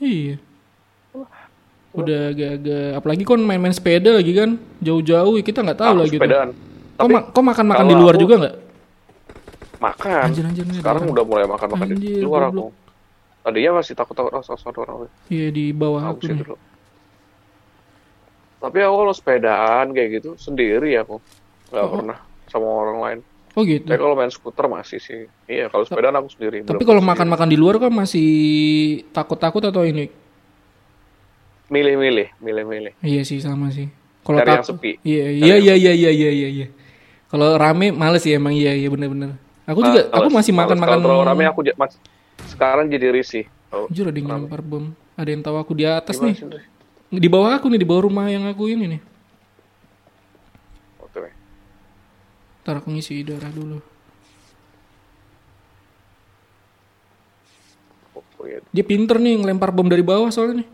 A: Iya. Udah agak-agak apalagi kon main-main sepeda lagi kan jauh-jauh ya kita nggak tahu
B: Aku
A: lah gitu.
B: sepedaan.
A: Kok, ma- kok makan-makan di
B: Ah, kalau
A: luar
B: aku-
A: juga nggak?
B: Makan.
A: Anjir, anjir, anjir.
B: Sekarang udah mulai makan-makan di
A: Anjir,
B: luar
A: goblok.
B: aku. Tadinya masih takut-takut oh, sosok orang
A: Iya di bawah aku
B: habisin
A: nih.
B: dulu. Tapi aku kalau sepedaan kayak gitu sendiri aku. Nggak pernah sama orang lain.
A: Oh gitu.
B: Tapi kalau main skuter masih sih. Iya, kalau sepedaan aku sendiri.
A: Tapi
B: belum
A: kalau
B: sendiri.
A: makan-makan di luar kan masih takut-takut atau ini?
B: milih-milih, milih-milih.
A: Iya sih sama sih. Kalau
B: Cari yang
A: takut-
B: sepi.
A: Iya iya iya iya iya iya iya. iya. Kalau rame males ya emang iya iya benar-benar. Aku juga
B: Ah, Males,
A: aku masih
B: males.
A: makan-makan.
B: Kalau terlalu rame aku j- mas- sekarang jadi risih. Kalau
A: Jujur ada yang lempar bom. Ada yang tahu aku di atas
B: gimana
A: nih.
B: sih, Dri?
A: Di bawah aku nih di bawah rumah yang aku ini nih.
B: Oke.
A: Ntar aku ngisi darah dulu.
B: Oh, iya.
A: Dia pinter nih ngelempar bom dari bawah soalnya nih.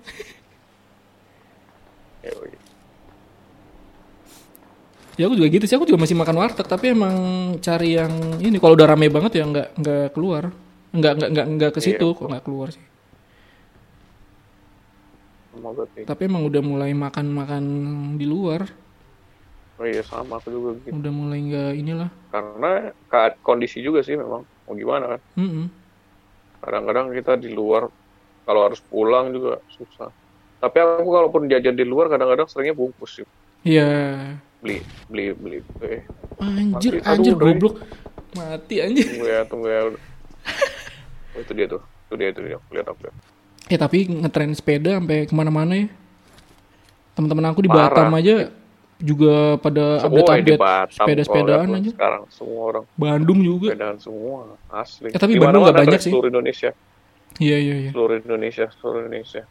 B: Ya, oh, iya.
A: Ya aku juga gitu sih. Aku juga masih makan warteg tapi emang cari yang ini kalau udah rame banget ya nggak nggak keluar. Nggak nggak nggak nggak
B: Iya,
A: ke situ kok nggak keluar sih.
B: Sama berarti.
A: Tapi emang udah mulai makan-makan di luar.
B: Oh, iya, sama aku juga gitu.
A: Udah mulai nggak inilah.
B: Karena ka- kondisi juga sih memang. Mau gimana kan?
A: Mm-mm.
B: Kadang-kadang kita di luar kalau harus pulang juga susah. Tapi aku kalaupun jajan di luar kadang-kadang seringnya bungkus sih.
A: Iya.
B: Beli beli beli. Eh,
A: Anjir,
B: Mati. Aduh,
A: anjir
B: Doi.
A: goblok. Mati anjir.
B: tunggu ya, tunggu ya. Oh, itu dia tuh. Itu dia itu dia. Aku lihat aku lihat.
A: Ya tapi ngetren sepeda sampai kemana-mana ya. Teman-teman aku di
B: Parah.
A: Batam aja juga pada
B: Woi, di
A: update-update
B: Batam,
A: sepeda-sepedaan
B: kalau lihat
A: aja.
B: tuh Sekarang semua orang
A: Bandung juga.
B: sepedaan semua, asli.
A: Ya, tapi
B: Di
A: Bandung nggak
B: mana-mana,
A: banyak
B: Dre,
A: sih.
B: Seluruh Indonesia,
A: Iya iya iya.
B: seluruh Indonesia, seluruh Indonesia.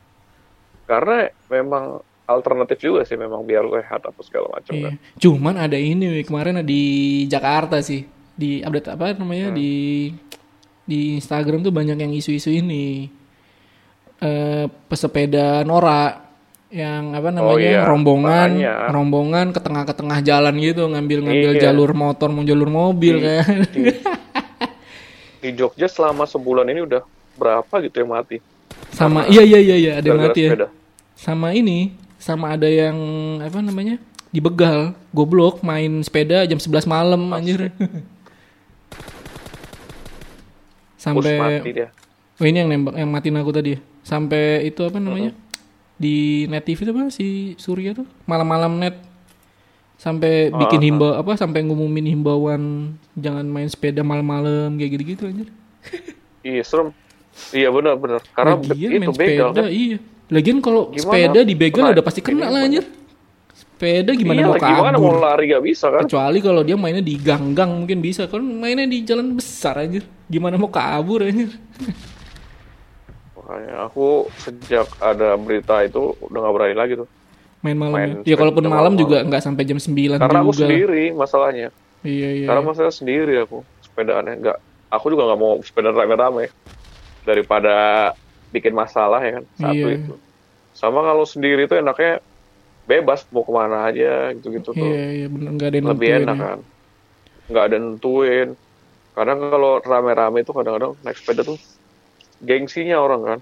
B: Karena memang alternatif juga sih memang biar sehat apa segala macam
A: Iya.
B: kan.
A: Cuman ada ini weh, kemarin ada di Jakarta sih. Di update apa namanya
B: Hmm.
A: di di Instagram tuh banyak yang isu-isu ini. Eh pesepeda norak yang apa namanya
B: iya,
A: rombongan
B: makanya.
A: rombongan ke tengah-ke tengah jalan gitu ngambil-ngambil
B: Iya.
A: jalur motor mau jalur mobil kan.
B: Di Jogja selama sebulan ini udah berapa gitu yang mati?
A: sama iya iya iya iya ada yang
B: Gara-gara
A: mati ya.
B: sepeda.
A: Sama ini sama ada yang apa namanya? dibegal, goblok main sepeda jam 11 malam anjir.
B: Terus
A: Sampai
B: mati dia.
A: Oh ini yang nembak yang matiin aku tadi. ya. Sampai itu apa namanya? Di net TV itu apa si Surya tuh? Malam-malam net sampai bikin himbau apa sampai ngumumin himbauan jangan main sepeda malam-malam kayak gitu-gitu anjir.
B: Iya, serem. Iya benar-benar. Karena
A: Lagian
B: itu
A: main
B: begal
A: sepeda,
B: kan.
A: iya. Lagian kalau
B: Gimana?
A: sepeda dibegal
B: Kena-
A: udah pasti kena
B: ini
A: lah anjir. Sepeda gimana
B: Iya,
A: mau
B: gimana
A: kabur?
B: mau lari gak bisa kan?
A: Kecuali kalau dia mainnya di gang-gang mungkin bisa. Kan mainnya di jalan besar anjir. Gimana mau kabur anjir?
B: Makanya aku sejak ada berita itu udah gak berani lagi tuh.
A: Main malam
B: Main
A: ya. Ya
B: sepeda
A: kalaupun malam
B: malam-malam.
A: juga nggak sampai jam 9
B: Karena aku
A: juga.
B: sendiri masalahnya.
A: Iya iya.
B: Karena masalah sendiri aku sepedaannya nggak. Aku juga nggak mau sepeda rame-rame daripada bikin masalah ya kan satu
A: Iya.
B: itu. Sama kalau sendiri itu enaknya bebas mau kemana aja gitu-gitu tuh
A: Iya iya bener nggak ada yang
B: lebih
A: nentuin
B: enak
A: ya.
B: kan. Nggak ada nentuin. Kadang kalau rame-rame itu kadang-kadang naik sepeda kan. "Ah, tuh gengsinya orang kan.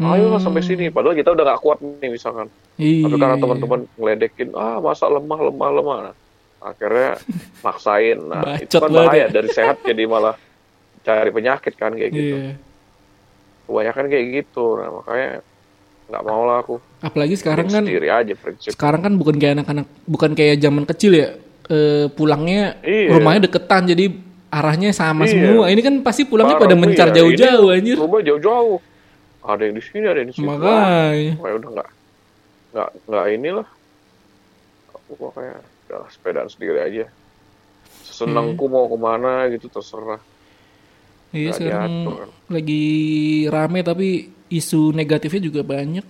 B: Ayo lah sampai sini. Padahal kita udah nggak kuat nih misalkan.
A: Iya,
B: tapi
A: Hmm.
B: karena
A: iya,
B: teman-teman ngeledekin ah masa lemah lemah lemah Nah, akhirnya maksain nah itu
A: Bacot
B: kan
A: banget
B: bahaya
A: ya.
B: dari sehat jadi malah cari penyakit kan kayak gitu
A: Iya.
B: kebanyakan kayak gitu nah makanya nggak mau lah aku
A: Apalagi sekarang kan
B: sendiri aja prinsip
A: sekarang kan bukan kayak anak-anak bukan kayak zaman kecil ya eh, pulangnya
B: Iya.
A: rumahnya deketan jadi arahnya sama
B: Iya.
A: semua ini kan pasti pulangnya
B: Parah,
A: pada
B: Bu,
A: mencar
B: ya.
A: jauh-jauh
B: Ini
A: anjir
B: rumah jauh-jauh ada yang di sini ada yang di sini
A: makanya
B: kayak ya udah nggak nggak nggak inilah aku makanya udah sepedaan sendiri aja senengku
A: Hmm.
B: mau kemana gitu terserah
A: iya
B: Nggak
A: sekarang
B: diatur.
A: lagi rame tapi isu negatifnya juga banyak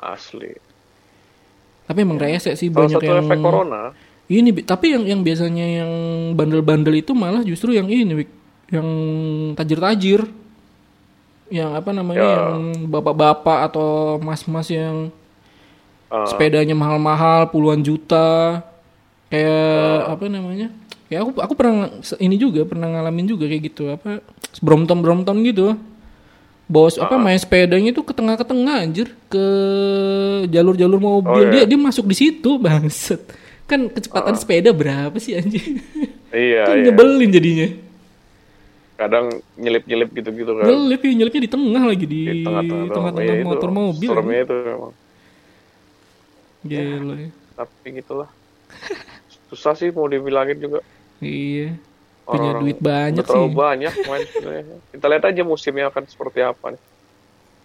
B: asli
A: tapi emang rese sih
B: Iya. salah
A: banyak
B: satu
A: yang
B: efek corona
A: ini Bi. tapi yang yang biasanya yang bandel-bandel itu malah justru yang ini Wik. yang tajir-tajir yang apa namanya
B: Ya.
A: yang bapak-bapak atau mas-mas yang
B: eh,
A: sepedanya mahal-mahal puluhan juta kayak apa namanya ya aku aku pernah se- ini juga pernah ngalamin juga kayak gitu apa Brompton Brompton gitu bos apa
B: Ah.
A: main sepedanya itu ke tengah ke tengah anjir ke jalur-jalur
B: Oh,
A: mobil
B: iya.
A: dia dia masuk di situ bangset kan kecepatan
B: Ah.
A: sepeda berapa sih anjir
B: iya
A: kan
B: iya
A: nyebelin jadinya
B: kadang nyelip nyelip gitu gitu kan
A: nyelip ya, nyelipnya di tengah lagi di
B: di tengah-tengah doang.
A: tengah-tengah
B: Iya, itu
A: motor mobil
B: seremnya itu emang
A: gila iya.
B: tapi gitulah susah sih mau dibilangin juga
A: iya punya
B: Orang-orang
A: duit banyak
B: udah terlalu
A: sih
B: banyak main sebenarnya. Kita lihat aja musimnya akan seperti apa nih.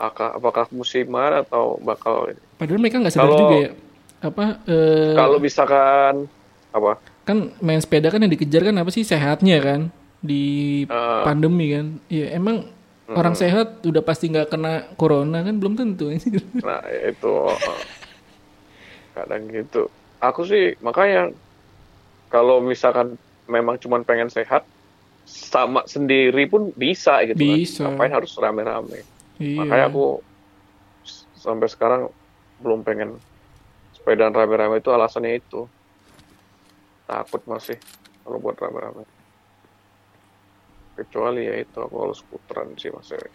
B: Aka- apakah musiman atau bakal ini?
A: Padahal mereka nggak sadar
B: Kalau-
A: juga ya. Apa eh,
B: Kalau misalkan apa?
A: kan main sepeda kan yang dikejar kan apa sih sehatnya kan di
B: Eh.
A: pandemi kan. Iya emang orang sehat udah pasti nggak kena corona kan belum tentu. anjir.
B: Nah, itu eh, kadang gitu. Aku sih makanya kalau misalkan memang cuman pengen sehat sama sendiri pun bisa gitu
A: Bisa.
B: kan. Ngapain harus rame-rame?
A: iya.
B: Makanya aku s- sampai sekarang belum pengen sepedaan rame-rame itu alasannya itu. Takut masih kalau buat rame-rame. Kecuali ya itu aku kalau skuteran sih masih.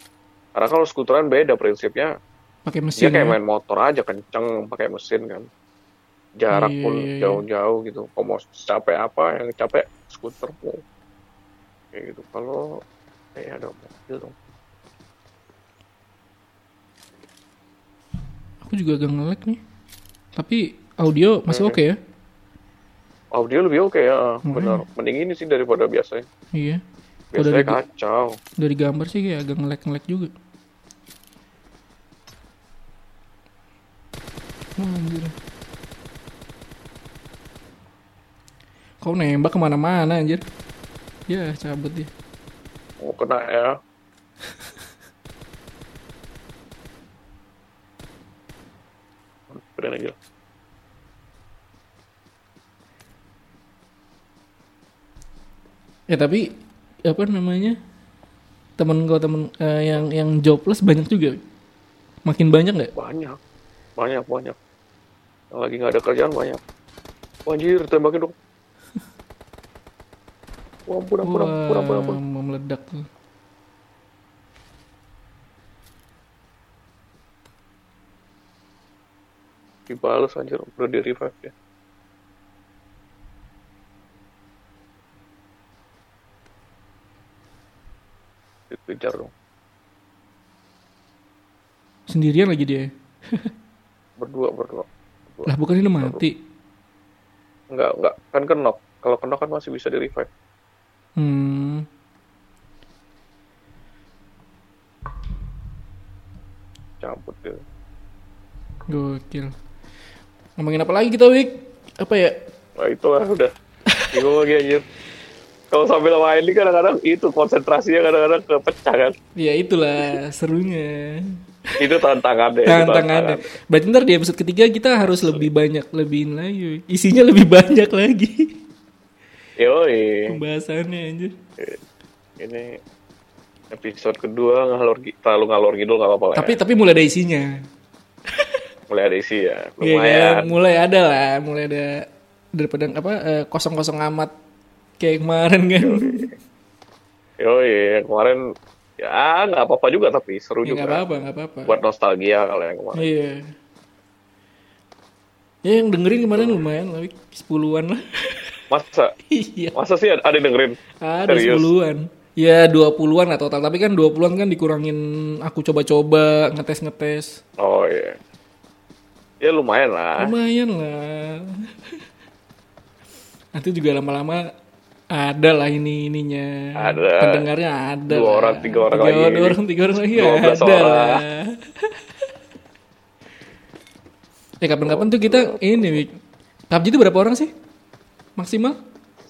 B: Karena kalau skuteran beda prinsipnya.
A: pakai
B: Dia
A: mesin.
B: kayak
A: ya.
B: main motor aja kenceng pakai mesin kan. Jarak
A: Iya,
B: pun
A: iya, iya.
B: jauh-jauh gitu. Kalau mau capek apa yang capek skuter. Kayak gitu. Kalau kayak ada mobil dong.
A: Aku juga agak nge-lag nih. Tapi audio masih oke ya?
B: Audio lebih oke ya, benar. Mending ini sih daripada biasanya.
A: Iya. Kalau dari,
B: Biasanya kacau.
A: dari gambar sih kayak agak nge-lag nge-lag juga. Wah, Oh, anjir. Kau nembak kemana-mana anjir. Ya cabut dia.
B: Mau kena ya. Keren aja.
A: Ya tapi apa namanya temen kau temen eh, yang yang jobless banyak juga. Makin banyak nggak?
B: Banyak. Banyak, banyak. Yang lagi nggak ada kerjaan banyak. Wah, Anjir, tembakin dong. Wah, ampun, ampun, ampun, ampun, ampun.
A: Wah, mau meledak tuh.
B: Dibales anjir, udah di revive ya. Dikejar dong.
A: Sendirian lagi dia.
B: Berdua, berdua.
A: Lah bukan ini mati.
B: Enggak, enggak. Kan kenok. Kalau kenok kan masih bisa di revive.
A: Hmm.
B: Cabut gitu.
A: Gokil. Ngomongin apa lagi kita, Wik? Apa ya?
B: Nah itulah udah. Bingung lagi anjir. Kalau sambil main ini kadang-kadang itu konsentrasinya kadang-kadang kepecah kan.
A: Ya itulah serunya.
B: Itu tantangannya. itu
A: Tantangannya. Berarti ntar di episode ketiga kita harus lebih banyak, lebihin lagi. Wik. Isinya lebih banyak lagi.
B: Yoi.
A: Pembahasannya anjir.
B: Ini episode kedua ngalor gi- terlalu ngalor gitu nggak apa-apa lah ya.
A: Tapi tapi mulai ada isinya.
B: mulai ada isi
A: Iya
B: ya
A: kan?
B: lumayan
A: Mulai ada lah, mulai ada daripada apa eh, kosong-kosong amat kayak kemarin kan.
B: yoi kemarin ya nggak apa-apa juga tapi seru
A: ya nggak
B: juga
A: apa-apa, nggak apa-apa.
B: buat nostalgia kalau yang kemarin
A: Iya. Ya yang dengerin kemarin lumayan lah, Wik. sepuluhan lah.
B: Masa?
A: Iya,
B: Masa sih ada yang dengerin?
A: ada
B: Serius?
A: sepuluhan. Ya 20-an lah total, tapi kan 20-an kan dikurangin aku coba-coba, ngetes-ngetes.
B: Oh iya. Ya lumayan lah.
A: Lumayan lah. Nanti juga lama-lama ada lah ini ininya.
B: Ada.
A: Pendengarnya ada.
B: Dua
A: lah.
B: orang, tiga orang lagi.
A: Dua orang, tiga orang lagi.
B: Dua belas
A: Ada
B: orang.
A: lah. ya kapan-kapan tuh kita ini Wik. PUBG itu berapa orang sih? Maksimal?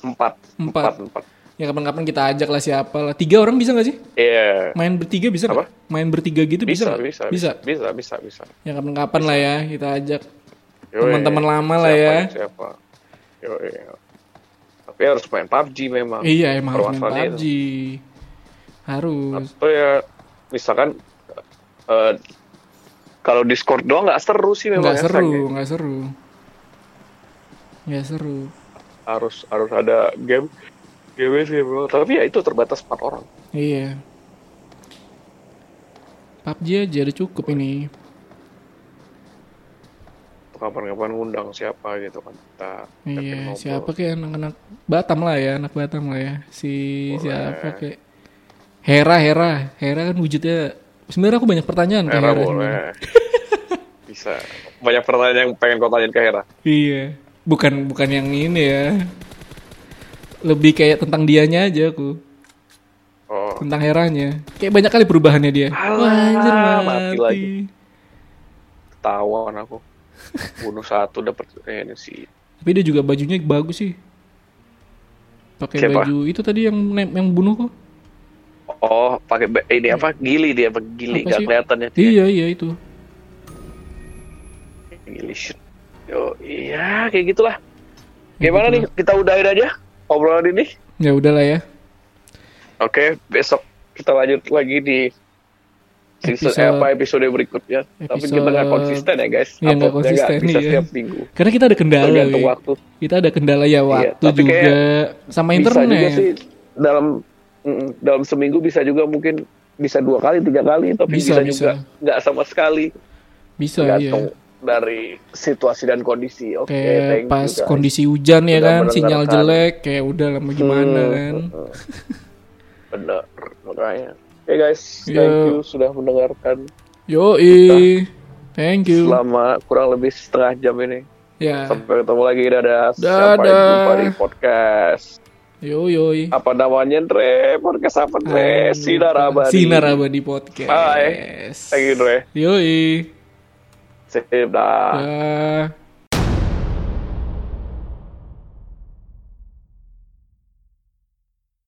B: Empat.
A: Hmm. Empat.
B: Empat.
A: Ya kapan-kapan kita ajak lah siapa lah. Tiga orang bisa nggak sih?
B: Iya.
A: Main bertiga bisa nggak?
B: Apa?
A: Main bertiga gitu bisa
B: Bisa,
A: nggak?
B: bisa,
A: Bisa.
B: bisa, bisa, bisa, bisa.
A: Ya kapan-kapan lah ya kita ajak.
B: Yoi.
A: Teman-teman lama lah
B: Siapa
A: ya.
B: nih, Siapa? Yoi. Tapi harus main PUBG memang.
A: Iya emang harus main
B: Permasalahannya
A: PUBG. Harus.
B: Atau ya misalkan eh, kalau Discord doang nggak seru sih memang
A: Nggak
B: ya,
A: seru,
B: Shay.
A: nggak seru. Nggak seru.
B: Harus harus ada game game sih memang. Tapi ya itu terbatas empat orang.
A: Iya. PUBG aja udah cukup ini.
B: Kapan-kapan ngundang siapa gitu kan kita. kita
A: Iya,
B: ngobrol.
A: siapa kayak anak-anak Batam lah ya, anak Batam lah ya. Si siapa kayak Hera, Hera. Hera kan wujudnya sebenarnya aku banyak pertanyaan ke
B: Hera
A: Hera.
B: boleh.
A: sebenarnya.
B: Bisa. Banyak pertanyaan yang pengen kau tanyain ke Hera.
A: Iya. Bukan bukan yang ini ya. Lebih kayak tentang dianya aja aku.
B: Oh,
A: tentang heranya kayak banyak kali perubahannya dia
B: Alah,
A: wah anjir mati,
B: mati lagi. ketahuan aku. Bunuh satu dapat ini sih.
A: tapi dia juga bajunya bagus sih pakai
B: Siapa?
A: baju itu tadi yang nem- yang bunuh kok
B: Oh, pakai be- ini apa? Gili dia pakai gili
A: Apa
B: nggak
A: sih?
B: kelihatan ya.
A: iya iya itu
B: Gili shoot. Yo, iya kayak gitulah. Gimana
A: gitu.
B: nih? Kita udahin aja obrolan ini.
A: ya udahlah ya
B: Oke, besok kita lanjut lagi di season eh,
A: Episode-
B: apa episode berikutnya. Tapi
A: episode-
B: kita nggak konsisten ya guys.
A: Iya, nggak
B: Uploadnya
A: konsisten,
B: bisa
A: iya.
B: setiap minggu.
A: karena kita ada kendala
B: Tergantung
A: Wi.
B: waktu. Iya,
A: kita ada kendala ya waktu
B: tapi
A: juga
B: kayak
A: sama
B: Bisa juga
A: internet
B: sih dalam mm, dalam seminggu bisa juga mungkin bisa dua kali tiga kali tapi
A: Bisa,
B: bisa,
A: bisa.
B: juga nggak sama sekali
A: bisa ya
B: tergantung dari situasi dan kondisi. Oke,
A: kayak
B: thank you,
A: pas
B: guys.
A: kondisi hujan ya
B: Sudah
A: kan sinyal
B: mendengarkan.
A: jelek kayak udah
B: Hmm,
A: lama gimana kan
B: Bener, makanya. Oke guys,
A: Iya.
B: thank you sudah mendengarkan
A: yoi thank you
B: selama kurang lebih setengah jam ini.
A: ya
B: Sampai ketemu lagi, dadah. Sampai
A: Dadah.
B: jumpa di podcast.
A: yo yoi
B: Apa namanya, Dre? Podcast apa, Dre? Sinar Abadi.
A: Sinar Abadi Podcast.
B: Bye. Thank you, Dre.
A: Yoi. Ah.
B: Sip, dah.
A: Dah.